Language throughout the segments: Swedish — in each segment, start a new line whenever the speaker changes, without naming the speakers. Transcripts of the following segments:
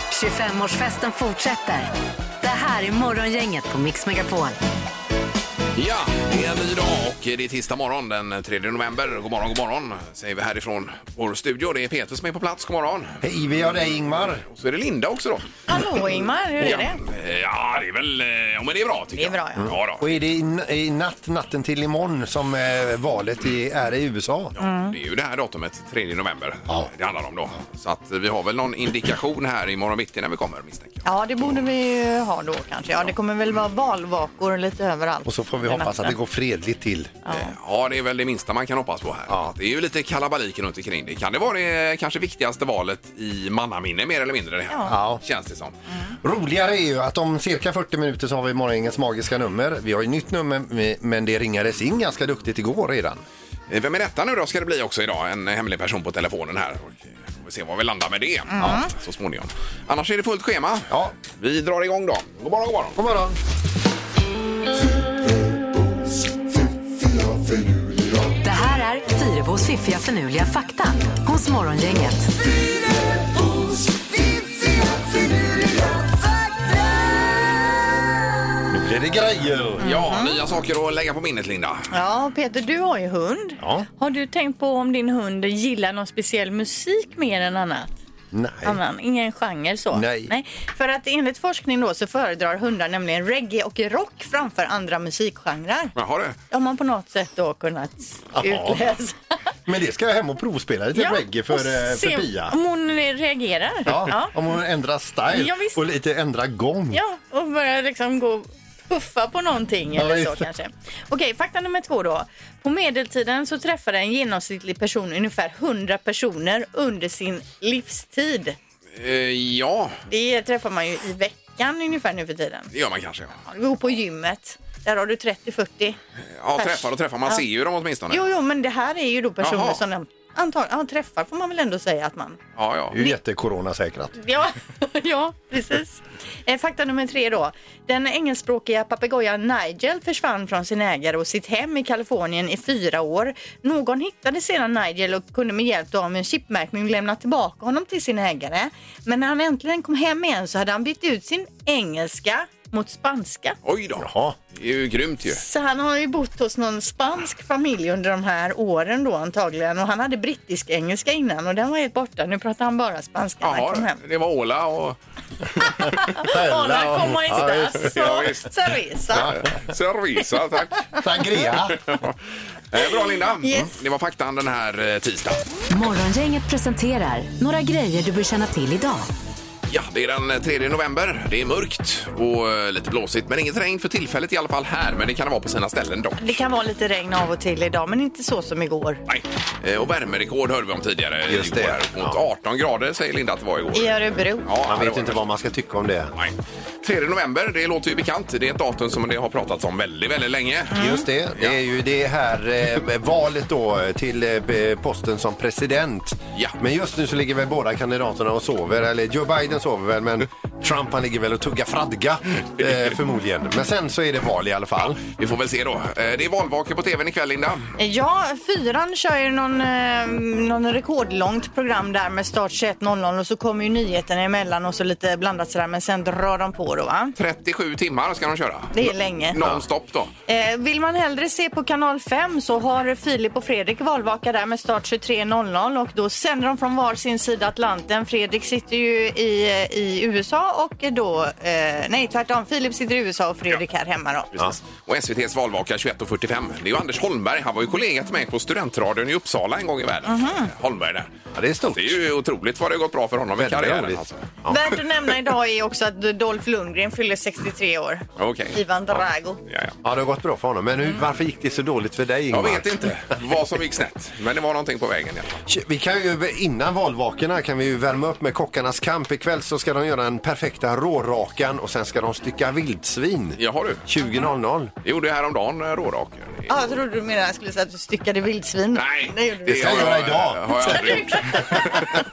25-årsfesten fortsätter. Det här är Morgongänget på Mix Megapol.
Ja, det är en ny dag och det är tisdag morgon den 3 november. God morgon, god morgon säger vi härifrån vår studio. Det är Peter som är på plats. God morgon.
Hej, vi har dig Ingmar.
Och så är det Linda också då.
Hallå Ingmar, hur är det?
Ja, det är väl... eh, Ja, men det är bra tycker
Det
jag.
är bra, ja.
ja. då.
Och är det i, n- i natt, natten till imorgon som eh, valet i, är i USA?
Ja, Det är ju det här datumet, 3 november,
Ja.
det handlar om då. Så att vi har väl någon indikation här imorgon bitti när vi kommer misstänker
Ja, det borde vi ju ha då kanske. Ja, det kommer väl vara valvakor lite överallt.
Och så får vi
den
hoppas att det
natten.
går fredligt till.
jag. Eh, Ja, det är väl det minsta man kan hoppas på här. Det är ju lite kalabalik runt omkring det. Kan det vara det kanske viktigaste valet i mannaminne mer eller mindre det här?
Ja.
Känns det som.
Roligare är ju att om cirka 40 minuter så har vi morgongängets magiska nummer. Vi har ju nytt nummer men det ringades in ganska duktigt igår redan.
Eh, Vem är detta nu då ska det bli också idag? En hemlig person på telefonen här. Och, eh, Vi får se var vi landar med det
Mm.
ja, så småningom. Annars är det fullt schema.
Ja.
Vi drar igång då. God morgon, god morgon.
God morgon!
Det här är Fyrebos fiffiga förnuliga fakta hos Morgongänget.
Nu blir det grejer!
Mm.
Ja, nya saker att lägga på minnet Linda.
Ja, Peter, du har ju hund.
Ja.
Har du tänkt på om din hund gillar någon speciell musik mer än annat?
Nej.
Annan, ingen genre så?
Nej.
För att enligt forskning då så föredrar hundar nämligen reggae och rock framför andra musikgenrer.
Jaha du.
Det har man på något sätt då kunnat
Jaha.
utläsa.
Men det ska jag hem och provspela lite reggae för,
och
eh,
se
för Pia.
Om hon reagerar.
Ja, om hon ändrar style
Ja, visst.
och lite ändrar gång.
Ja, och börja liksom gå och puffa på någonting
Ja,
eller så
visst.
kanske. Okej, fakta nummer två då. På medeltiden så träffade en genomsnittlig person ungefär 100 personer under sin livstid.
Eh, ja,
Det träffar man ju i veckan ungefär nu för tiden.
det gör man kanske. Ja,
Ja, Du går på gymmet. Där har du 30-40.
ja träffar och träffar. Man ser ju dem åtminstone.
Jo, jo, men det här är ju då personer
Jaha.
som de antagligen ja, träffar får man väl ändå säga att man
Ja, ja.
Det är ju jättekoronasäkrat.
Ja, ja precis. Eh, Fakta nummer tre då. Den engelskspråkiga papegojan Nigel försvann från sin ägare och sitt hem i Kalifornien i fyra år. Någon hittade sedan Nigel och kunde med hjälp av en chipmärkning lämna tillbaka honom till sin ägare. Men när han äntligen kom hem igen så hade han bytt ut sin engelska mot spanska.
Oj då.
Jaha.
Det är ju grymt ju.
Så han har ju bott hos någon spansk familj under de här åren då antagligen och han hade brittisk engelska innan och den var helt borta. Nu pratar han bara spanska när han kom
Jaha,
hem.
det var Åla och
Alla kommer
Ja,
inte
visst.
alltså.
Ja, visst.
Cerveza.
Cervisa, eh, tack.
Sangria.
Eh, Bra Linda.
Yes.
Det var faktan den här eh, tisdagen.
Morgongänget presenterar några grejer du bör känna till idag.
Ja, det är den 3 november. Det är mörkt och eh, lite blåsigt, men inget regn för tillfället i alla fall här. Men det kan det vara på sina ställen dock.
Det kan vara lite regn av och till idag, men inte så som igår.
Nej. Eh, Och värmerekord hörde vi om tidigare.
Just det.
igår här. Mot 18 grader säger Linda att det var igår.
I Örebro.
Ja,
Man
det
vet
var-
inte vad man ska tycka om det.
Nej. 3 november, det låter ju bekant. Det är ett datum som det har pratats om väldigt, väldigt länge.
Mm.
Just det, det är ju det här eh, valet då till eh, posten som president.
Ja.
Men just nu så ligger väl båda kandidaterna och sover, eller Joe Biden sover väl men Trump han ligger väl och tuggar fradga eh, förmodligen. Men sen så är det val i alla fall.
Vi får väl se då. Eh, Det är valvaka på tvn ikväll, Linda.
Ja, fyran kör ju någon, eh, någon rekordlångt program där med start 21.00 och så kommer ju nyheterna emellan och så lite blandat sådär, men sen drar de på då va?
37 timmar ska de köra.
Det är länge.
Nonstop då.
Eh, vill man hellre se på kanal 5 så har Filip och Fredrik valvaka där med start 23.00 och då sänder de från var sin sida Atlanten. Fredrik sitter ju i, i USA och då, eh, nej tvärtom, Filip sitter i USA och Fredrik här hemma då.
Precis. Och SVTs valvaka 21.45. Det är ju Anders Holmberg. Han var ju kollega till mig på studentradion i Uppsala en gång i världen. Holmberg där.
Ja, det är stort.
Det är ju otroligt vad det har gått bra för honom i
Väldigt
karriären.
roligt.
Alltså.
Värt att nämna idag är också att Dolph Lundgren fyller 63 år.
Okej.
Ivan Drago.
Ja, ja.
Ja, det har gått bra för honom. Men hur, varför gick det så dåligt för dig
Jag
Ingmar?
vet inte vad som gick snett, men det var någonting på vägen. i alla fall.
Vi kan ju, innan valvakorna kan vi ju värma upp med kockarnas kamp. Ikväll så ska de göra den perfekta rårakan och sen ska de stycka vildsvin.
Jaha du,
20.00.
det gjorde jag häromdagen, eh, rårak.
Ja, jag trodde du menade att jag skulle säga att du styckade vildsvin.
Nej,
det Ah, gjorde
det
du.
ska
har
jag göra idag.
Har jag aldrig gjort.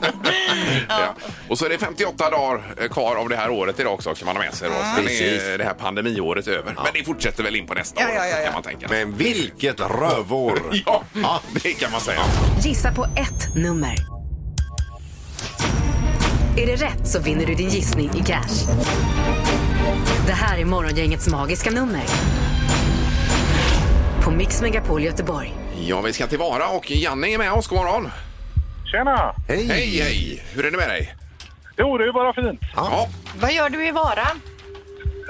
ja. Och så är det 58 dagar eh, kvar av det här året idag också kan man ha med sig. Då. Sen är
Precis.
det här pandemiåret över. Men det fortsätter väl in på nästa
Ja,
år
ja, ja, ja.
kan man tänka.
Men vilket rövår!
Ja, det kan man säga.
Gissa på ett nummer. Är det rätt så vinner du din gissning i cash. Det här är Morgongängets magiska nummer. På Mix Megapol Göteborg.
Ja, vi ska till Vara och Janne är med oss. God morgon!
Tjena!
Hej!
Hej, hej! Hur är det med dig?
Jo, det är bara fint.
Ja.
Vad gör du i Vara?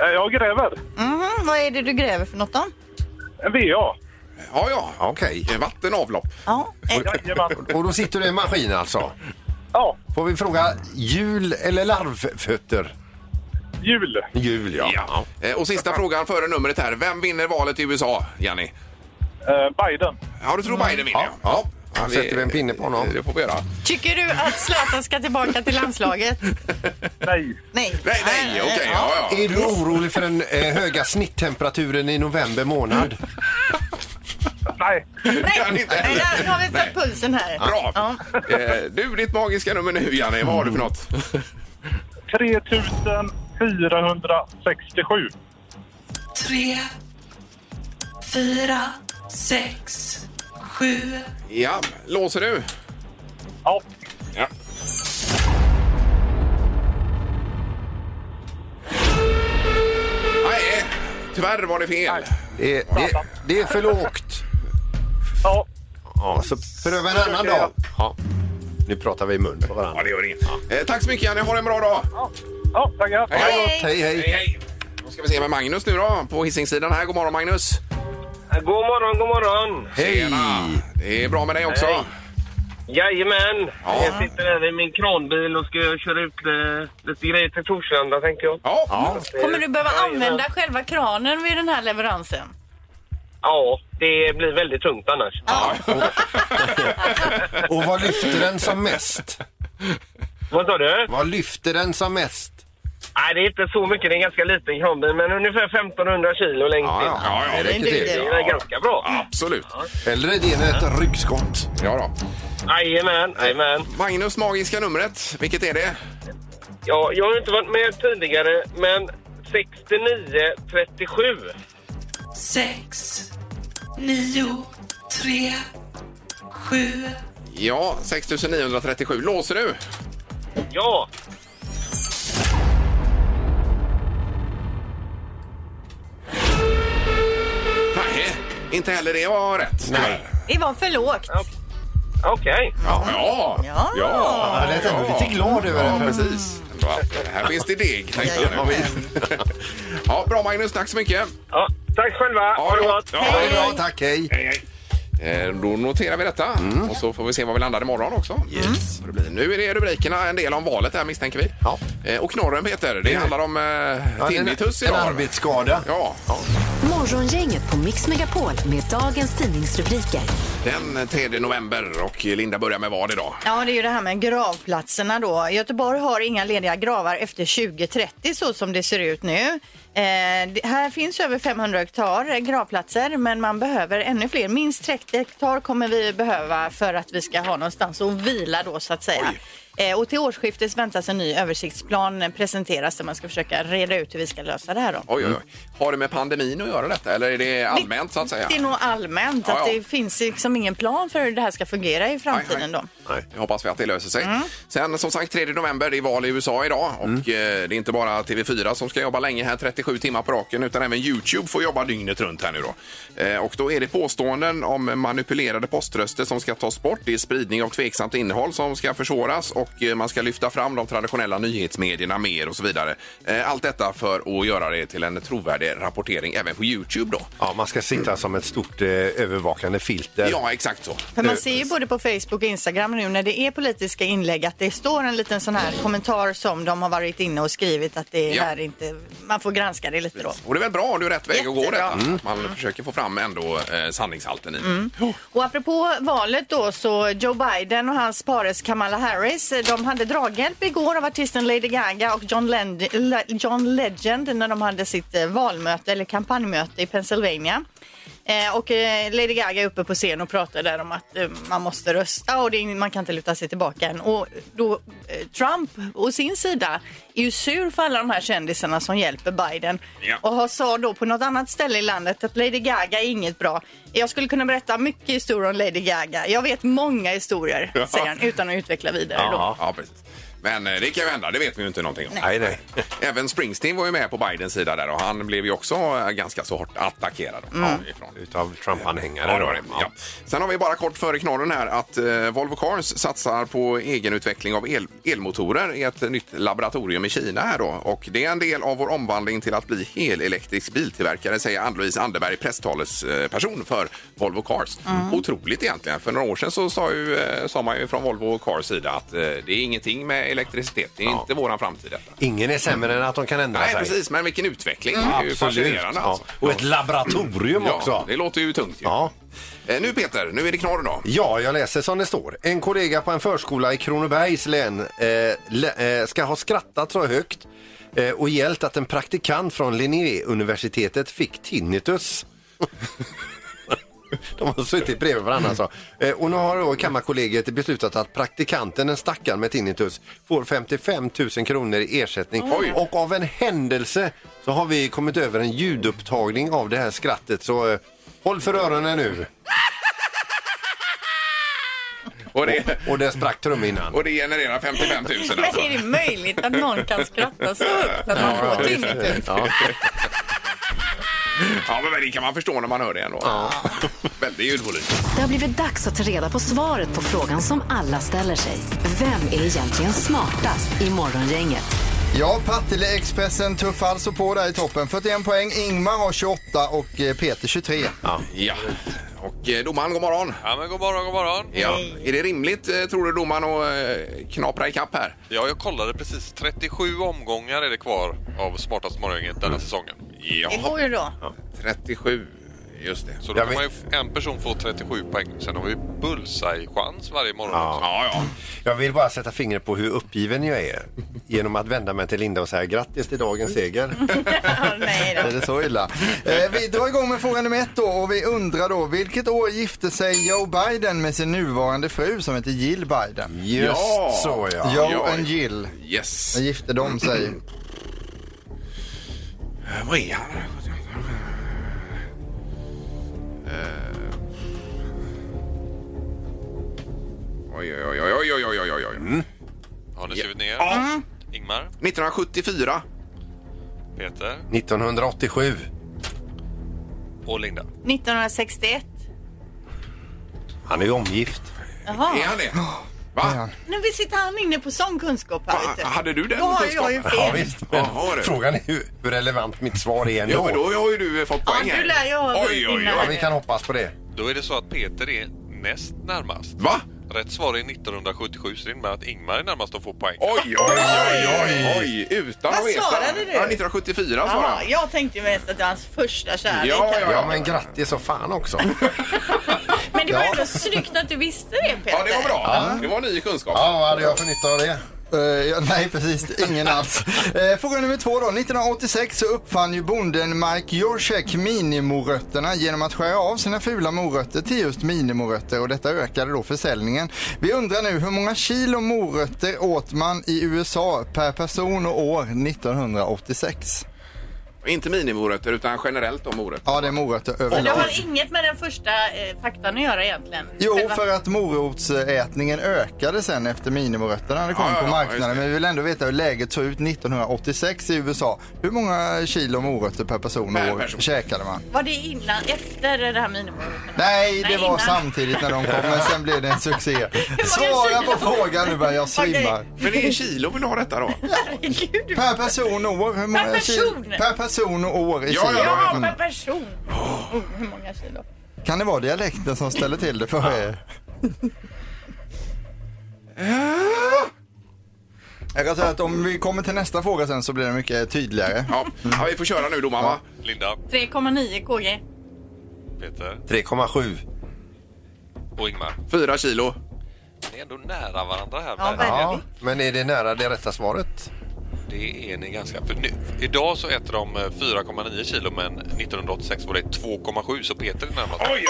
Eh, Jag gräver.
Mhm, vad är det du gräver för något då?
En VA.
Ja, ja.
Okej.
Eh, Vatten och avlopp.
Ja, eh,
Jajamän.
Och då sitter du i en maskin alltså?
Ja,
Får vi fråga hjul eller larvfötter?
jul.
Hjul, ja.
Eh, Och sista frågan före numret här. Vem vinner valet i USA, Janni?
Eh, Biden.
Ja, du tror Biden vinner?
Mm. Ja.
Ja,
Då sätter vi en pinne på honom.
Det får vi göra.
tycker du att Zlatan ska tillbaka till landslaget?
Nej.
Nej.
Nej,
Äh,
nej, okej. Ja, ja.
Är du orolig för den eh, höga snitttemperaturen i november månad?
Nej.
Kan
Nej,
inte.
nej, där har vi
Nej.
tagit pulsen här.
Bra!
Ja.
Eh, Du, ditt magiska nummer nu, Janne. Vad har du för något?
3467.
tre, fyra, sex, sju.
Ja, låser du?
Ja.
Ja. Nej, eh, tyvärr var det fel.
Det är, det, det är för lågt.
Ja.
Ja, så pröva en annan dag. Ja. Nu pratar vi i mun på varandra.
Ja, det gör inget. Eh, Tack så mycket, Janne. Ha en bra dag.
Ja, tackar.
Hej, hej.
Hej, hej.
Hej, hej. Då ska vi se med Magnus nu då, på Hisingssidan här. God morgon, Magnus.
God morgon, god morgon.
Hej!
Tjena. Det är bra med dig också.
Hej. Jajamän.
Ja.
Jag sitter här i min kranbil och ska köra ut eh, lite grejer till Torslanda, tänker jag.
Ja.
Kommer du behöva
Jajamän.
använda själva kranen vid den här leveransen?
Ja, det blir väldigt tungt annars.
Och vad lyfter den som mest?
Vad sa du?
Vad lyfter den som mest?
Nej, det är inte så mycket. Det är en ganska liten kranbil, men ungefär 1500 kilo längst in.
Ja, ja.
det räcker till.
Det är väl ganska bra.
Absolut.
Hellre det än ett ryggskott.
Ja då.
Jajamän, jajamän.
Magnus magiska numret, vilket är det?
Ja, jag har inte varit med tidigare, men 6937.
Sex, nio, tre, sju.
Ja, 6937. Låser du?
Ja,
Nej, inte heller det var rätt. Nej.
Det var för lågt.
okej.
Ja, ja.
Ja.
Ja, det är ändå lite glad över
Ja,
det.
precis. Va, Här finns det deg, tänkte jag nu. Ja, bra Magnus, tack så mycket.
Ja, tack själva. Ha det gott.
Ja, det är
Ja,
bra.
tack, hej.
Hej, hej. Eh, Då noterar vi detta och så får vi se var vi landar imorgon också. Yes. Det blir. Nu är det rubrikerna en del om valet här misstänker vi.
Ja.
Eh, Och knorren Peter, det handlar om eh,
Ja, en,
tinnitus
en
idag.
arbetsskada.
Ja,
Morgongänget på Mix Megapol med dagens tidningsrubriker.
den 3 november och Linda börjar med vad idag?
Ja, det är ju det här med gravplatserna då. Göteborg har inga lediga gravar efter 2030 så som det ser ut nu. Eh, det, här finns över 500 hektar gravplatser men man behöver ännu fler. Minst 30 hektar kommer vi behöva för att vi ska ha någonstans att vila då så att säga. Eh, och till årsskiftet väntas en ny översiktsplan presenteras där man ska försöka reda ut hur vi ska lösa det här då.
Oj, oj, oj. Har det med pandemin att göra detta eller är det allmänt så att säga?
Det är nog allmänt
Ja,
att
ja.
det finns liksom ingen plan för hur det här ska fungera i
Nej,
framtiden
nej.
då.
Nej. Jag hoppas vi att det löser sig. Sen som sagt 3 november, det är val i USA idag och eh, det är inte bara TV4 som ska jobba länge här 37 timmar på raken utan även Youtube får jobba dygnet runt här nu då. Eh, och då är det påståenden om manipulerade poströster som ska tas bort. Det är spridning av tveksamt innehåll som ska försvåras och eh, man ska lyfta fram de traditionella nyhetsmedierna mer och så vidare. Eh, allt detta för att göra det till en trovärdig rapportering även på Youtube då.
Ja, man ska sitta som ett stort eh, övervakande filter.
Ja, exakt så.
För man ser ju både på Facebook och Instagram nu när det är politiska inlägg att det står en liten sån här kommentar som de har varit inne och skrivit att det
Ja.
är här inte, man får granska det lite då.
Och det är väl bra om du är rätt väg att gå
Jättebra.
detta. Att Man försöker få fram ändå eh, sanningshalten i det.
Och apropå valet då så Joe Biden och hans pares Kamala Harris de hade draghjälp igår av artisten Lady Gaga och John, Lend- Le- John Legend när de hade sitt eh, valmöte eller kampanjmöte i Pennsylvania. Eh, och eh, Lady Gaga är uppe på scen och pratar där om att eh, man måste rösta och det är, ing- man kan inte luta sig tillbaka än. Och då eh, Trump å sin sida är ju sur för alla de här kändisarna som hjälper Biden
Ja.
och har sa då på något annat ställe i landet att Lady Gaga är inget bra. Jag skulle kunna berätta mycket
alltså.
historier om Lady Gaga. Jag vet många historier, säger han, utan att utveckla vidare. Då.
Ja, precis. Men eh, det kan ju hända, det vet vi ju inte någonting om.
Nej, nej.
Även Springsteen var ju med på Bidens sida där och han blev ju också eh, ganska så hårt attackerad. Ja, ifrån.
Utav Trump-anhängare.
Ja, det
då.
var det. Ja. Sen har vi bara kort före knorren här att eh, Volvo Cars satsar på egenutveckling av el elmotorer i ett nytt laboratorium i Kina. Här då. Och det är en del av vår omvandling till att bli helelektrisk biltillverkare säger Ann-Louise Anderberg, presstalesperson för Volvo Cars.
Mm.
Otroligt egentligen. För några år sedan så sa, ju, eh, sa man ju från Volvo Cars sida att eh, det är ingenting med elektricitet. Det är inte våran framtid detta.
Ingen är sämre än att de kan ändra
Nej,
sig.
precis. Men vilken utveckling. Det är ju
Mm. Absolut. Ja.
fascinerande. Alltså.
Och ett laboratorium
Ja,
också.
det låter ju tungt. Ju.
Ja.
Eh, Nu Peter, nu är det knorr då.
Ja, jag läser som det står. En kollega på en förskola i Kronobergs län eh, le, eh, ska ha skrattat så högt eh, och gällt att en praktikant från Linnéuniversitetet fick tinnitus. De har suttit bredvid varandra alltså. Eh, och nu har då Kammarkollegiet beslutat att praktikanten, den stackaren med tinnitus, får 55 000 kronor i ersättning.
Oj.
Och av en händelse så har vi kommit över en ljudupptagning av det här skrattet. Så eh, håll för öronen nu.
Och det,
Och där sprack trumhinnan.
och det genererar 55 000
Men
alltså.
är det möjligt att någon kan skratta så högt att man får tinnitus?
Ja.
Ja, men det kan man förstå när man hör det ändå. Ja. Väldig ljudvolym.
Det har blivit dags att ta reda på svaret på frågan som alla ställer sig. Vem är egentligen smartast i Morgongänget?
Ja, Partille Expressen tuffar alltså på där i toppen. 41 poäng, Ingmar har 28 och eh, Peter 23.
Ja. Och eh, domaren, god morgon.
Ja, men god morgon, god morgon.
Ja. Är det rimligt, eh, tror du domaren, att eh, knapra ikapp här?
Ja, jag kollade precis. 37 omgångar är det kvar av Smartast morgongänget
Mm.
denna säsongen.
Det
Ja,
går ju då.
37. Just det.
Så
Så,
då
Jag
kan man ju,
vet-
en person få 37 poäng. Sen har vi bullseye-chans varje morgon också.
ja, ja.
Jag vill bara sätta fingret på hur uppgiven jag är genom att vända mig till Linda och säga grattis till dagens seger.
Ja, nej
Är
då.
det så illa? Eh, vi drar igång med fråga nummer ett då och vi undrar då vilket år gifte sig Joe Biden med sin nuvarande fru som heter Jill Biden?
Just
Ja.
så ja.
Joe
ja.
and Jill.
Yes.
När gifte de sig?
Eh, Vad är han? Eh. Oj, oj, oj, oj, oj, oj, oj, oj, oj.
Mm.
Har ni skrivit ner?
Ja.
Ingmar,
1974.
Peter
1987.
och Linda.
1961.
Han är ju omgift.
Är
Jaha.
han det? Va?
Nu vi sitter han inne på sån kunskap här. vet
Va?
du.
Ah, Hade du den
Då har jag ju
Ja,
fel.
visst. Men
Jaha, du.
frågan är hur, hur relevant mitt svar är ändå.
Ja, men då har ju du eh, fått
Ja,
poäng här.
du lär ju ha
Oj, oj,
Ja,
oj.
vi kan hoppas på det.
Då är det så att Peter är näst närmast.
Va?
Rätt svar är 1977, så det innebär att Ingmar är närmast att få poäng.
Oj, oj, oj, oj, oj. Utan
Vad
att veta.
svarade du?
Ja, 1974 svarade
Jaha,
han.
jag tänkte mest att det var hans första kärlek.
Ja,
här.
ja,
Ja, men grattis och fan också.
Men det var
Ja.
ändå snyggt att du visste det Peter.
Ja, det var bra. Det var ny kunskap.
Ja, vad hade jag för nytta av det?
Eh, ja, nej, precis. Ingen alls. Eh, fråga nummer två då. 1986 så uppfann ju bonden Mike Jorcek minimorötterna genom att skära av sina fula morötter till just minimorötter och detta ökade då försäljningen. Vi undrar nu hur många kilo morötter åt man i USA per person och år 1986?
Inte minimorötter, utan generellt om morötter.
Ja, det är morötter
Så det
överlag.
har inget med den första eh, faktan att göra egentligen?
Jo,
Själva-
för att morotsätningen ökade sen efter minimorötterna hade kommit
Ja, ja,
på
ja, just det.
marknaden. Men vi vill ändå veta hur läget såg ut 1986 i USA. Hur många kilo morötter per person
Per
och år
person.
käkade man?
Var det innan, efter det här minimorötterna?
Nej, det
Nej,
var
innan.
samtidigt när de kom, men sen blev det en succé. Svara
kilo?
på frågan nu börjar jag svimma.
Okej.
Men det är kilo vill du ha detta då?
Herregud, du...
Per person och år, hur många
Per person?
kilo? Per person och år i
Ja, ja,
kilo.
Ja,
Mm.
per person. Oh, hur många kilo?
Kan det vara dialekten som ställer till det för er? Jag kan säga att om vi kommer till nästa fråga sen så blir det mycket tydligare.
Ja, ja vi får köra nu domaren va?
Linda,
3,9 kg.
Peter
3,7.
och Ingmar.
Fyra kilo.
Ni är ändå nära varandra här.
Ja,
men-
Ja,
ja.
men är det nära det rätta svaret?
Det är ni ganska... För nu, idag så äter de eh, 4,9 kilo men 1986 var det 2,7 så Peter är närmast.
Oj, oj, oj.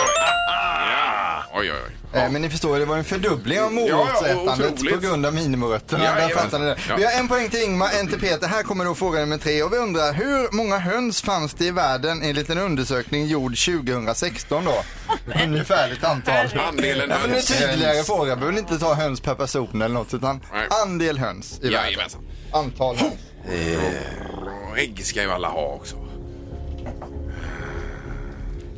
Ja. Oj, oj, oj.
Eh, Men ni förstår, det var en fördubbling av
Ja, ja,
morotsätandet
otroligt.
på grund av minimorötterna.
Ja,
Där
jajamän.
fattar ni det.
Ja.
Vi har en poäng till Ingmar, en till Peter. Här kommer då fråga nummer tre. Och vi undrar, hur många höns fanns det i världen enligt en undersökning gjord 2016 då? Ungefärligt antal.
Andelen
Ja, men en
höns.
tydligare fråga. Behöver ni inte ta höns per person eller något utan
Nej.
andel höns i världen.
Jajamensan.
Antal höns.
Och ägg ska ju alla ha också.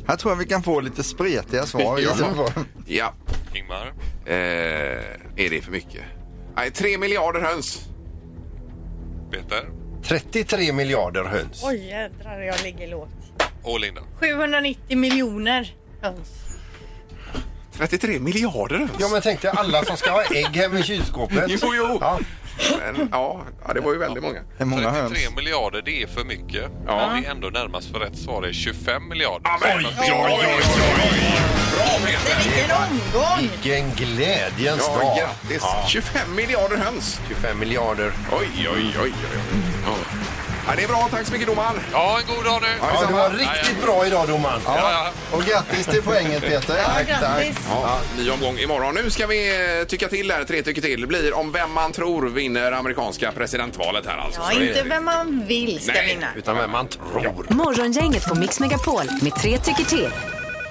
Här tror jag vi kan få lite spretiga svar.
Ja.
gissar jag på.
Ja.
Ingmar.
Eh, är det för mycket? Nej, tre miljarder höns.
Peter.
33 miljarder höns.
Oj jädrar, jag ligger lågt.
Och Linda.
790 miljoner höns.
33 miljarder höns?
Ja, men tänk dig alla som ska ha ägg hemma i kylskåpet.
Jo, jo.
Ja.
Men, ja, ja, det var ju väldigt många.
Det är många höns.
33 miljarder, det är för mycket. Ja. Men det är ändå närmast för rätt svar är 25 miljarder.
Oj, oj, oj, oj, oj. Bra, Peter!
Vilken omgång!
Vilken glädjens
Ja,
dag.
grattis! 25 miljarder höns.
25 miljarder.
Oj, oj, oj, oj. oj. Ja. Ja, det är bra. Tack så mycket, domaren.
Ja, en god dag nu.
Ja,
Ja, du
detsamma.
var riktigt bra idag domaren.
Ja,
Och grattis till poängen Peter.
Ja,
Tack, tack.
grattis!
Ja, ny omgång imorgon. Nu ska vi eh, tycka till där. Tre tycker till blir om vem man tror vinner amerikanska presidentvalet här alltså.
Ja,
Så det-
inte vem man vill ska
Nej.
vinna.
Utan vem man tror.
Morgongänget på Mix Megapol med tre tycker till.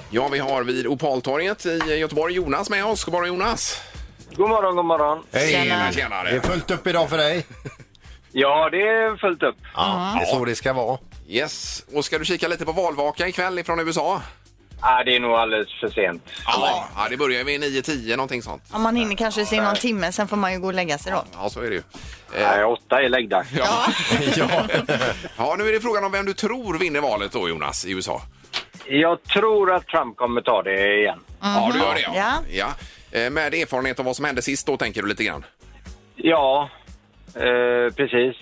Ja, vi har vid Opaltorget i eh, Göteborg Jonas med oss. God morgon Jonas!
God morgon, god morgon.
Tjena!
Det är
Tjenare!
fullt upp idag för dig.
Ja, det är fullt upp.
Ja, det är så det ska vara.
Yes, och ska du kika lite på valvaka ikväll ifrån USA?
Nej, det är nog alldeles för sent.
Ja, ja det börjar vid 9-10 någonting sånt.
Om man hinner kanske se någon timme, sen får man ju gå och lägga sig då.
Ja, så är det ju.
Nej, åtta är läggdags.
Ja. ja, nu är det frågan om vem du tror vinner valet då Jonas i USA.
Mhm.
Jag tror att Trump kommer ta det igen.
Ja, du gör det
Ja.
ja. Eh, Med erfarenhet av vad som hände sist då tänker du lite grann?
Ja, eh, precis.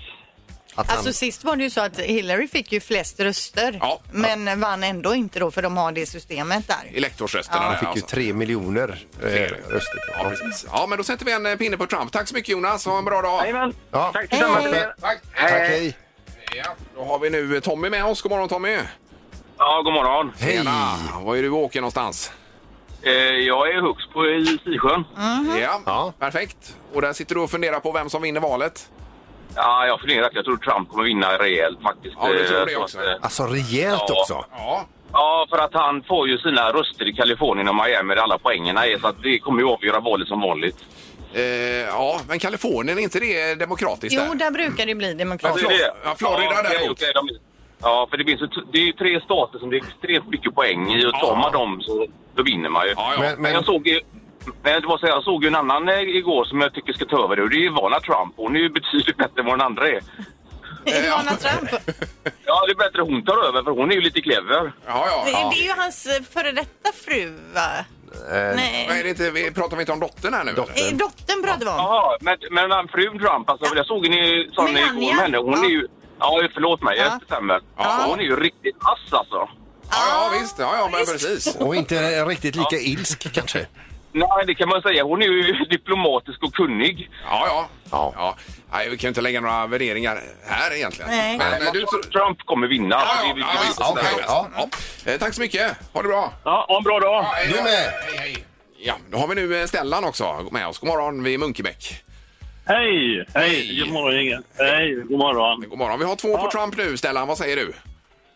Att han,
Alltså sist var det ju så att Hillary fick ju flest röster,
Ja.
men vann ändå inte då för de har det systemet där.
Elektorsrösterna
Ja.
där,
fick ju
alltså.
tre miljoner eh, röster.
Ja, precis. Ja, men då sätter vi en eh, pinne på Trump. Tack så mycket Jonas, ha en bra dag.
Jajamän.
Ja.
Tack tillsammans med er.
Tack.
Hej,
Tack,
hej.
hej.
Ja, då har vi nu eh, Tommy med oss. God morgon Tommy!
Ja, god morgon.
Hej!
Tjena. Var är du och åker någonstans?
Eh, jag är i Högsbo i Sisjön.
Mm.
Mhm.
Ja.
Ja.
perfekt. Och där sitter du och funderar på vem som vinner valet?
Ja, jag funderar att jag tror Trump kommer vinna rejält faktiskt.
Ja, det tror jag
Eh, så
också.
att, eh,
Alltså rejält
Ja.
också.
Ja.
Ja, för att han får ju sina röster i Kalifornien och Miami där alla poängerna är så att det kommer ju avgöra valet som vanligt.
Eh, ja, men Kalifornien, är inte det demokratiskt
Jo,
där?
där brukar det bli
Men
demokratiskt.
det- ja, Florida
okej,
däremot.
okej, de- Ja, för det finns ju t- det är ju tre stater som det är extremt mycket poäng i och
Ja.
tar man dem så då vinner man ju.
Ja, ja.
Men,
Men
men,
jag såg ju... Men det var så här, jag såg ju en annan eh, igår som jag tycker ska ta över det och det är Ivana Trump. Hon är ju betydligt bättre än vad den andra är.
Ivana Trump.
Ja, det är bättre hon tar över för hon är ju lite clever.
ja,
Det,
ja.
det är ju hans eh, före detta fru, va?
Eh,
Men
Nej.
Är det inte, vi pratar vi inte om dottern här nu? eller?
Eh, Dottern pratar vi om.
Ja, men, men den frun Trump, alltså, jag såg henne sån
Men han,
igår
ja.
med henne. Hon
Ja.
är ju... Ja, förlåt mig,
Ja.
jag stämmer.
Ja.
Hon är ju riktigt ass alltså.
Ja, ja, visst. Ja, ja, men precis.
och inte riktigt lika ilsk kanske.
Nej, det kan man säga. Hon är ju diplomatisk och kunnig.
Ja, ja.
Ja.
ja. Nej, vi kan ju inte lägga några värderingar här egentligen.
Nej.
Men,
Men
eh, du, tror-
Trump kommer vinna. alltså,
Ja,
Det är
ja,
det-
ja, visst.
Ja, okej.
Sådär.
Ja.
Ja. Eh, Tack så mycket. Ha det bra.
Ja, ha en bra dag.
Hej
Du
då.
med.
Hej, hej. Ja, då har vi nu eh, Stellan också med oss. God morgon, vi är i Munkebäck.
Hej!
Hej.
Hej! God morgon, gänget. Hej, god morgon.
God morgon. Vi har två på Trump nu. Stellan, vad säger du?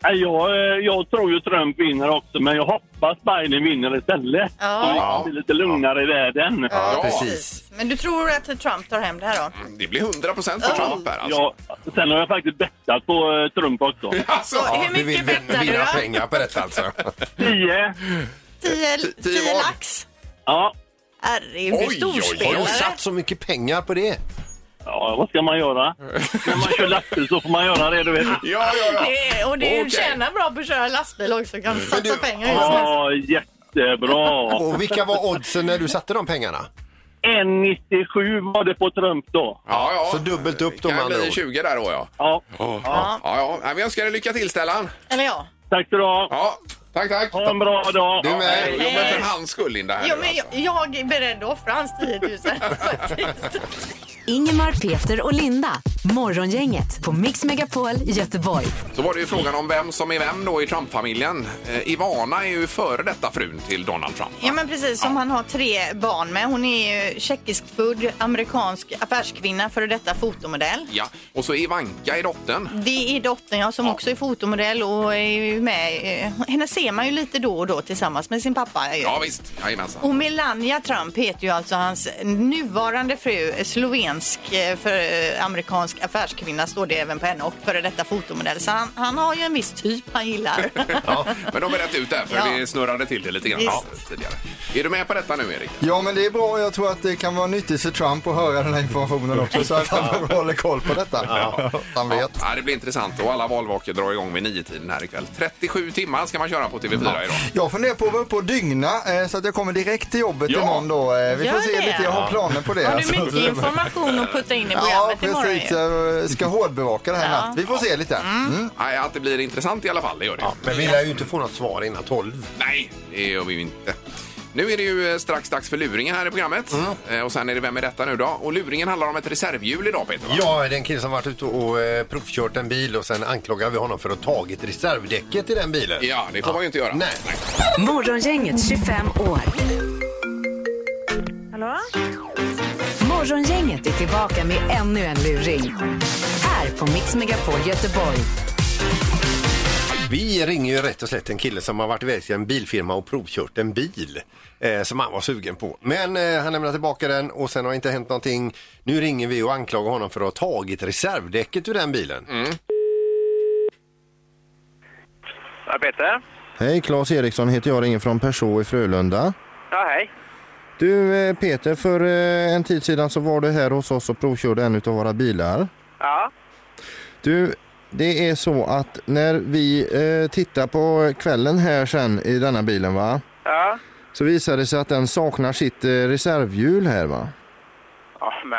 Nej, Jag, eh, jag tror ju Trump vinner också, men jag hoppas Biden vinner istället.
Ja.
Så det blir lite lugnare i världen.
Ja.
Precis.
Men du tror att Trump tar hem det här då?
Det blir 100 procent för Trump här alltså.
Jag, sen har jag faktiskt bettat på eh, Trump också.
alltså
Så,
ja.
hur
Du vill
mycket
vin-
bettar du
vinna
då?
pengar på detta alltså.
10.
10
Tio
tio
vad?
lax?
Ja.
Herregud, du är
Oj, oj, oj.
Har du
storspelare.
satt så mycket pengar på det?
ja, vad ska man göra? När man kör lastbil så får man göra det, du vet.
Ja, ja, ja.
Det är- Och det är-
Okej. Mm.
tjänar bra på att köra lastbil också. Kan satsa pengar just nu.
Ja, jättebra.
Och vilka var oddsen när du satte de pengarna?
1,97 var det på Trump då.
Ja, ja.
Så dubbelt upp
Det
de
kan
andra
bli
ord.
20 där då ja.
Ja,
Ja, ja. Nej, Vi önskar dig lycka till Stellan.
Eller ja.
tack så du ha.
Ja, tack, tack.
Ha en bra dag.
Du med.
Jo, men för hans skull Linda. Här
Jo,
nu,
men
alltså.
jag, jag är beredd att offra hans 10 000 faktiskt.
Ingemar, Peter och Linda. Morgongänget på Mix Megapol Göteborg.
Så var det ju frågan om vem som är vem då i Trump-familjen. Eh, Ivana är ju före detta frun till Donald Trump.
Ja men precis, som han har tre barn med. Hon är ju tjeckiskfödd, amerikansk affärskvinna, före detta fotomodell.
Ja, och så Ivanka är dottern.
Det är dottern ja, som också är fotomodell och är ju med. eh, Henne ser man ju lite då och då tillsammans med sin pappa. ju.
Ja visst, jajamensan.
Och Melania Trump heter ju alltså hans nuvarande fru, slovensk eh, för eh, amerikansk affärskvinna står det även på henne och före detta fotomodell. Så han, han har ju en viss typ han gillar.
Eh,
Ja, men de är rätt ut där för
Ja.
vi snurrade till det lite grann
Visst.
ja, tidigare. Är du med på detta nu Erik?
Ja, men det är bra. Jag tror att det kan vara nyttigt för Trump att höra den här informationen också så att han håller koll på detta. Han vet.
Ja, det blir intressant och alla valvaker drar igång vid nio tiden här ikväll. 37 timmar ska man köra på TV4 idag.
Jag funderar på att vara uppe och dygna eh, så att jag kommer direkt till jobbet
Ja.
imorgon då. Eh, Vi
Gör
får se
det.
lite, jag har
Ja.
planer på det.
Har
alltså.
du mycket information att putta in i
Ja,
programmet imorgon?
precis.
ju?
Jag ska hårdbevaka det här
Ja.
natt. Vi får se lite. Mm.
Nej, att det blir intressant i alla fall, det gör det.
Ja, men vi lär ju inte få något svar innan tolv.
Nej, det gör vi ju inte. Nu är det ju eh, strax dags för luringen här i programmet.
Mm.
Eh, Och sen är det Vem är detta nu då? Och luringen handlar om ett reservhjul idag Peter va?
Ja, det är en kille som varit ute och eh, provkört en bil och sen anklagar vi honom för att ha tagit reservdäcket i den bilen.
Ja, det får man ju inte göra.
Nej.
Morgongänget 25 år.
Hallå?
Morgongänget är tillbaka med ännu en luring. Här på Mix Megapol Göteborg.
Vi ringer ju rätt och slätt en kille som har varit iväg till en bilfirma och provkört en bil eh, som han var sugen på. Men eh, han lämnade tillbaka den och sen har inte hänt någonting. Nu ringer vi och anklagar honom för att ha tagit reservdäcket ur den bilen.
Ja, Peter?
Hej, Claes Eriksson heter jag, ringer från Perså i Frölunda.
Ja, hej.
Du eh, Peter, för eh, en tid sedan så var du här hos oss och provkörde en av våra bilar.
Ja.
Du, det är så att när vi eh, tittar på kvällen här sen i denna bilen va?
Ja.
Så visar det sig att den saknar sitt eh, reservhjul här va?
Ja, men...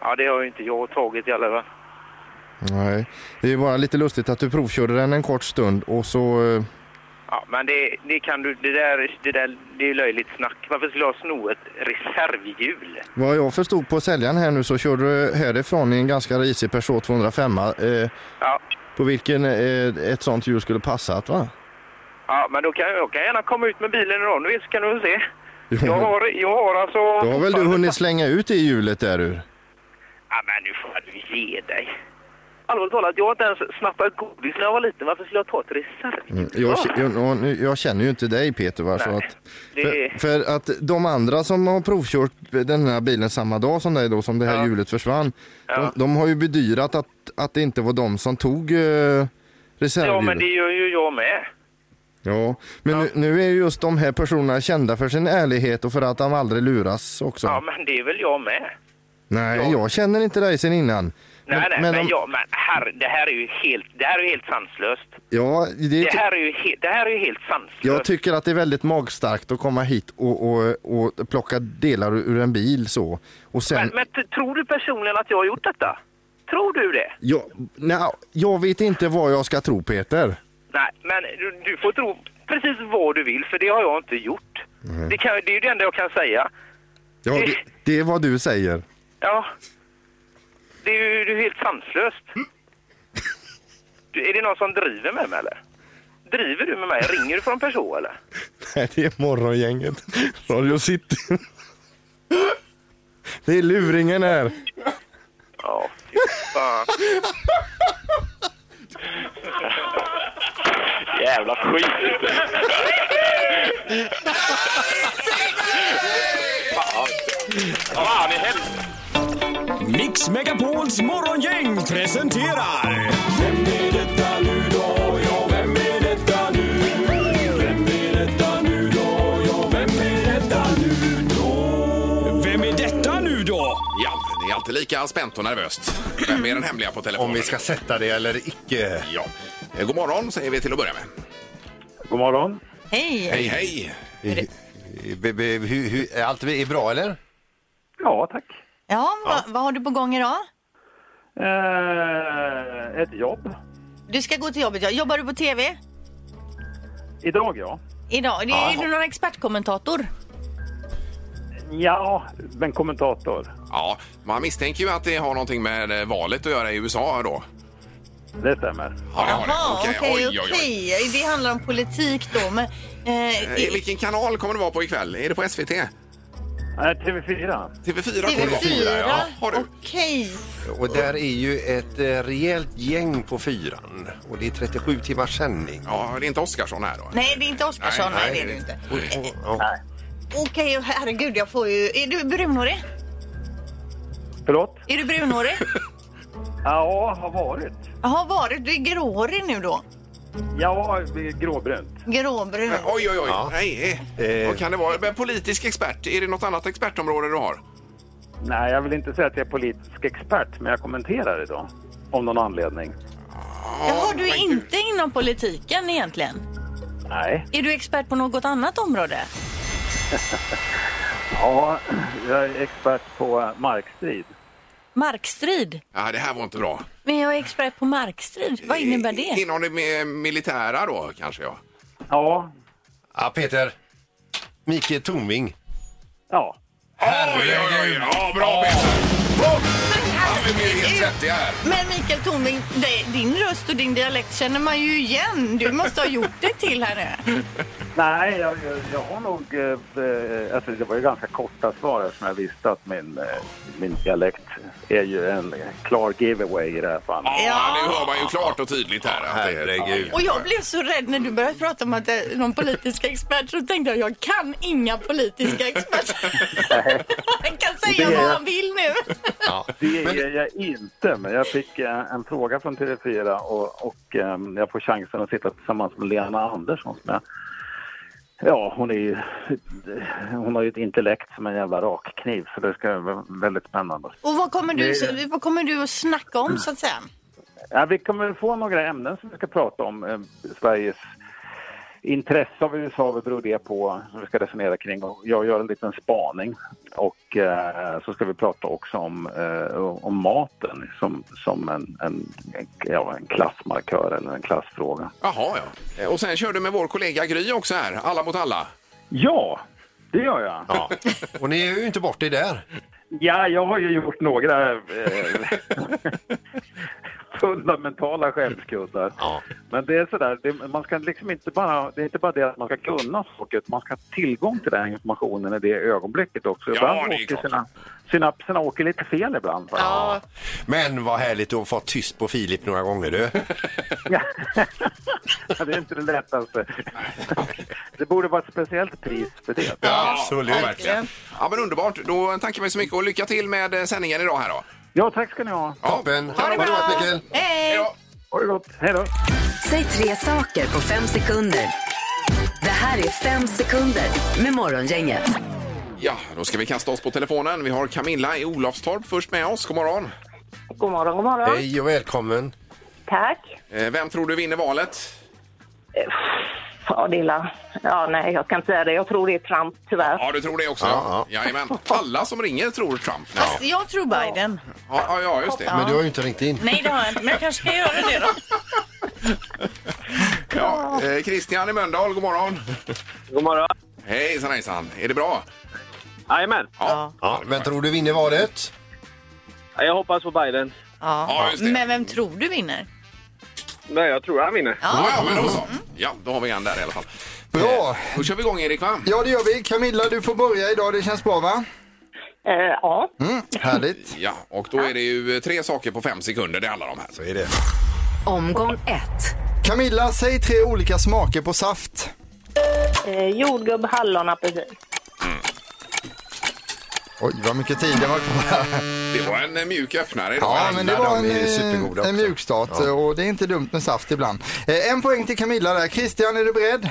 Ja, det har ju inte jag tagit i alla fall.
Nej, det är ju bara lite lustigt att du provkörde den en kort stund och så... Eh,
Ja, men det, det kan du... Det där, det där det är ju löjligt snack. Varför skulle jag sno ett reservhjul?
vad jag förstod på säljaren här nu så körde du härifrån i en ganska risig Peugeot 205 eh,
Ja.
På vilken eh, ett sånt hjul skulle passat va?
Ja, men då kan jag, jag kan gärna komma ut med bilen idag. Nu så kan du väl se.
Jo, men-
Jag har, jag har alltså...
Då har väl du hunnit slänga ut det hjulet där ur?
Ja, men nu får du ge dig. Allvarligt talat, jag har inte ens snattat godis när jag var liten. Varför skulle jag ta ett reservhjul?
Mm, Jag, k- jag, nu- jag känner ju inte dig Peter. Va? Så
Nej,
att,
det-
för, för att de andra som har provkört den här bilen samma dag som dig då, som det här hjulet försvann.
Ja.
De, de har ju bedyrat att, att det inte var de som tog eh,
Ja, men
reservhjulet.
det gör ju jag med.
Ja, men Nu, nu är ju just de här personerna kända för sin ärlighet och för att de aldrig luras också.
Ja, men det är väl jag med.
Nej, jag känner inte dig sen innan.
Nej, nej, men,
om-
jag, men herre, det här är ju helt, det här är ju helt sanslöst.
ja, det,
Det här är ju, he, det här är ju helt sanslöst.
Jag tycker att det är väldigt magstarkt att komma hit och, och, och plocka delar ur en bil så. Och sen,
Men, men t- tror du personligen att jag har gjort detta? Tror du det?
jag, nej, jag vet inte vad jag ska tro Peter.
Nej, men du, du får tro precis vad du vill, för det har jag inte gjort.
Nej.
Det, kan, det är ju det enda jag kan säga.
Ja, det, det är vad du säger.
Ja, det är ju det är ju helt sanslöst. Du, är det någon som driver med mig eller? Driver du med mig? Ringer du från person eller?
Nej, det är morgongänget. Radio City. Det är luringen här.
Ja, fy fan. Jävla skit. Fan i helvete.
Mix Megapols morgongäng presenterar... Vem är detta nu då? Ja, vem är detta nu? Vem är detta nu då? Ja, vem är detta nu då? Vem är detta nu då?
Ja, det är alltid lika spänt och nervöst. Vem är den hemliga på telefonen?
Om vi ska sätta det eller icke.
Ja. Eh, God morgon säger vi till att börja med.
God morgon.
Hej!
Hej, hej.
Hur, hur, allt är bra eller?
Ja, tack.
Ja, vad, vad har du på gång idag?
Eh, ett jobb.
Du ska gå till jobbet. ja. Jobbar du på tv
Idag ja.
idag? Det,
Ja.
är du någon expertkommentator?
Ja, men kommentator.
Ja, man misstänker ju att det har någonting med eh, valet att göra i USA då.
Det stämmer.
Ja, det har
Ja,
det.
okej,
Okej,
okej.
oj, oj, oj.
Det handlar om politik då. Men, eh,
Eh, Vilken kanal kommer det vara på ikväll? Är det på SVT?
TV4.
TV4 kommer det vara.
TV4,
Ja, har du.
okej.
Och där är ju ett eh, rejält gäng på fyran. Och det är 37 timmars sändning.
Ja, det är inte Oskarsson här då?
Nej, det är inte Oscarsson. Nej, det är det inte.
Nej.
Okej, herregud, jag får ju... Är du brunhårig?
Förlåt?
Är du brunhårig?
Ja, har varit.
Jaha, varit. Du är gråhårig nu då?
Ja, gråbrunt.
Gråbrun.
Oj, oj, oj.
Ja.
Nej, eh. Vad kan det vara? Men politisk expert, är det något annat expertområde du har?
Nej, jag vill inte säga att jag är politisk expert, men jag kommenterar det då. Av någon anledning.
Jaha, du är inte inom politiken egentligen?
Nej.
Är du expert på något annat område?
Ja, jag är expert på markstrid.
Markstrid?
Ja, det här var inte bra.
Men jag är expert på markstrid. Vad innebär det?
Inom det med militära då, kanske ja.
Ja.
Ja, Peter. Mikael Tornving.
Ja.
Herregud! Ja, bra Peter! Oh! Ja, vi blir helt svettiga här.
Men Mikael Tornving, det- din röst och din dialekt känner man ju igen. Du måste ha gjort det till här nu.
Nej, jag, jag, jag har nog... eh, Alltså det var ju ganska korta svar eftersom jag visste att min, eh, min dialekt är ju en klar giveaway i det här fallet.
Ja, nu hör man ju klart och tydligt här. att det-
Herregud.
Och jag blev så rädd när du började prata om att det är någon politisk expert så tänkte jag, jag kan inga politiska experter. Han kan säga
Det är
vad
jag.
han vill nu.
Det är jag inte, men jag fick eh, en fråga från TV4 och, och ehm, jag får chansen att sitta tillsammans med Lena Andersson som jag Ja, hon, är ju, hon har ju ett intellekt som en jävla rakkniv så det ska vara väldigt spännande.
Och vad kommer du,
Det-
vad kommer du att snacka om så att säga?
Ja, vi kommer få några ämnen som vi ska prata om. Eh, Sveriges intresse av USA, vad beror det på? Som vi ska resonera kring. Och Jag gör en liten spaning. Och eh, så ska vi prata också om, eh, om maten som, som en, en, en, ja, en klassmarkör eller en klassfråga.
Jaha, ja. Eh, Och sen kör du med vår kollega Gry också här, Alla mot alla.
Ja, det gör jag.
Ja. Och ni är ju inte bort det där.
Ja, jag har ju gjort några eh, fundamentala skämskuddar. Men det är sådär, det, man ska liksom inte bara, det är inte bara det att man ska kunna saker, utan man ska ha tillgång till den här informationen i det ögonblicket också.
Ja,
ibland
det är
åker
klart.
sina, synapserna åker lite fel ibland. va?
Men vad härligt att få tyst på Filip några gånger du.
det är inte det lättaste. det borde vara ett speciellt pris för det.
absolut. verkligen. Ja, men underbart. Då tackar vi så mycket och lycka till med eh, sändningen idag här då.
Ja, tack ska ni ha.
Toppen.
Ha det bra,
Mikael.
Hej!
Ha det gott. Hej då.
Säg tre saker på fem sekunder. Det här är fem sekunder med Morgongänget.
Ja, då ska vi kasta oss på telefonen. Vi har Camilla i Olofstorp först med oss. God morgon.
God morgon, god morgon.
Hej och välkommen.
Tack.
Eh, Vem tror du vinner valet?
Ja, Dilla. Ja, nej, jag kan inte säga det. Jag tror det är Trump, tyvärr.
Ja, du tror det också? Ja, Jajamän. Alla som ringer tror Trump. nu. Ja,
Jag tror Biden.
ja, ja just det.
Men du har ju inte ringt in.
Nej, det har jag inte, men jag kanske ska göra det då.
Ja, eh, Christian i Mölndal, god morgon.
God morgon.
Hejsan hejsan, är det bra?
Jajamän.
Ja.
Ja, men tror du vinner valet?
Jag hoppas på Biden.
Ja,
Ja, just det.
men vem tror du vinner?
Nej, jag tror han vinner.
Ja, ja, men då så. Ja, då har vi en där i alla fall.
Bra!
Då kör vi igång Erik va?
Ja, det gör vi. Camilla, du får börja idag. Det känns bra, va?
Eh,
ja.
Mm, härligt.
Ja, och då är det ju tre saker på fem sekunder det handlar om här. Så
är det.
Omgång ett.
Camilla, säg tre olika smaker på saft.
Eh, jordgubb, hallon, apelsin.
Oj, vad mycket tid det var kvar.
Det var en eh, mjuk öppnare idag.
Ja, men det var en, eh,
också.
en mjukstart
Ja.
och det är inte dumt med saft ibland. Eh, En poäng till Camilla där. Christian, är du beredd?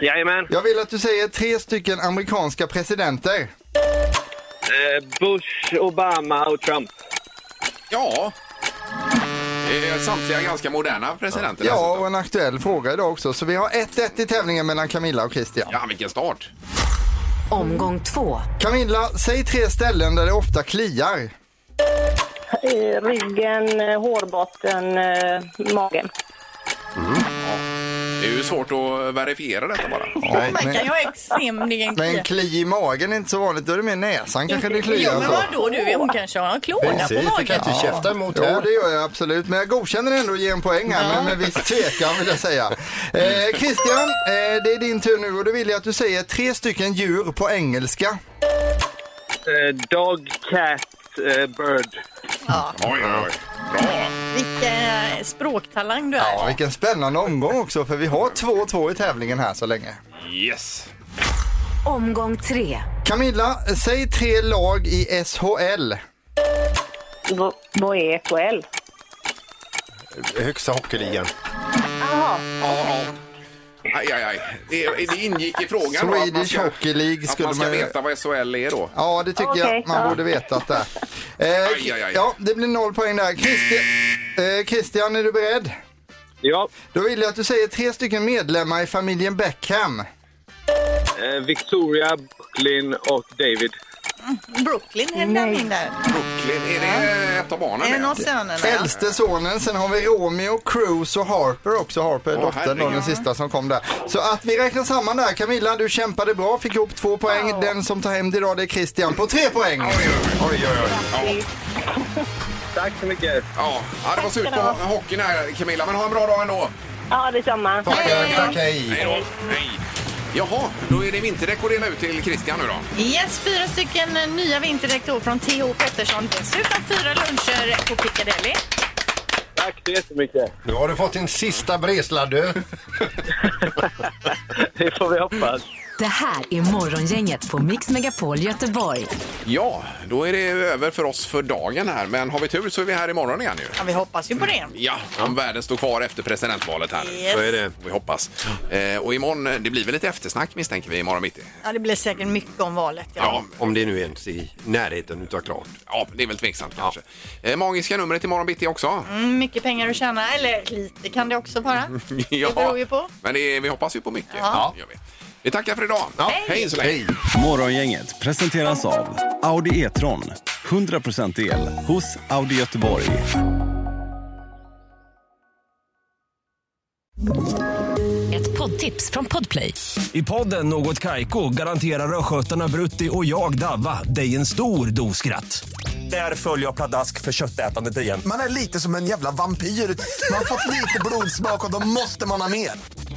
Jajamän.
Jag vill att du säger tre stycken amerikanska presidenter.
Eh, Bush, Obama och Trump.
Ja. Eh, Samtliga ganska moderna presidenter.
Ja, och en aktuell fråga idag också. Så vi har 1-1 i tävlingen mellan Camilla och Christian.
Ja, vilken start.
Omgång två.
Camilla, säg tre ställen där det ofta kliar.
Eh, ryggen, eh, hårbotten, eh, magen.
Det är ju svårt att verifiera detta bara.
Nej,
Man kan
men-
ju ha extremligen
Men kli i magen är inte så vanligt, då är det mer näsan kanske det kliar.
Jo, men
så.
vadå du? Hon kanske har en klåda på magen.
Jo, det gör jag absolut. Men jag godkänner ändå att ge en poäng här, men med viss tvekan vill jag säga. Eh, Christian, eh, det är din tur nu och då vill jag att du säger tre stycken djur på engelska.
Eh, dog, cat, eh, bird.
Ja.
Oj, oj, oj.
Vilken eh, språktalang du är.
Ja, vilken spännande omgång också, för vi har 2-2 i tävlingen här så länge.
Yes.
Omgång tre.
Camilla, säg tre lag i SHL.
Vad är SHL?
Högsta hockeyligan.
Jaha.
Ja. Aj, aj, aj. Det, det ingick i frågan då, att man
Swedish
ska,
Hockey League
att
skulle
man ska
man ju-
veta vad SHL är då.
Ja, det tycker
Okej,
jag man
ja.
borde vetat där. Eh,
Aj, aj, aj.
Ja, det blir noll poäng där. Christi eh, Christian, är du beredd?
Ja.
Då vill jag att du säger tre stycken medlemmar i familjen Beckham.
Eh, Victoria, Brooklyn och David.
Brooklyn hängde han in där.
Brooklyn, är det ett av barnen?
En av sönerna. ja.
Äldste sonen, sen har vi Romeo, Cruz och Harper också. Harper är dottern då, den
herregud.
sista som kom där. Så att vi räknar samman där. Camilla, du kämpade bra, fick ihop två poäng. Den som tar hem det idag det är Christian på tre poäng.
Tack så mycket.
Ja, ja det var slut på hockeyn här Camilla, men ha en bra dag ändå.
Ja, detsamma.
Tack, hej. Hej då. Hej. Jaha, då är det vinterdäck att dela ut till Christian nu då.
Yes, fyra stycken eh, nya vinterdäck då från TH Pettersson. Dessutom fyra luncher på Piccadilly.
Tack så jättemycket.
Nu har du fått din sista bresladö.
det får vi hoppas.
Det här är Morgongänget på Mix Megapol Göteborg.
Ja, då är det över för oss för dagen här, men har vi tur så är vi här imorgon igen ju.
Ja, vi hoppas ju på det.
Ja, om världen står kvar efter presidentvalet här nu.
Yes. Så är det.
Vi hoppas. Eh, och imorgon, eh, det blir väl lite eftersnack misstänker vi imorgon mitt i.
Ja, det blir säkert mycket om valet. Ja.
om det nu ens är i närheten utav klart. Ja, det är väl tveksamt kanske. Eh, magiska numret imorgon bitti också.
Mm, mycket pengar att tjäna, eller lite kan det också vara.
ja.
Det beror ju på.
Men det är, vi hoppas ju på mycket.
Ja.
Gör vi. vi tackar för idag.
Hej.
Hej så länge.
Morgongänget presenteras av Audi E-tron. 100% el hos Audi Göteborg.
Ett poddtips från Podplay.
I podden Något Kaiko garanterar östgötarna Brutti och jag, Davva, dig en stor dos skratt. Där följer jag pladask för köttätandet igen.
Man är lite som en jävla vampyr. Man har fått lite blodsmak och då måste man ha mer.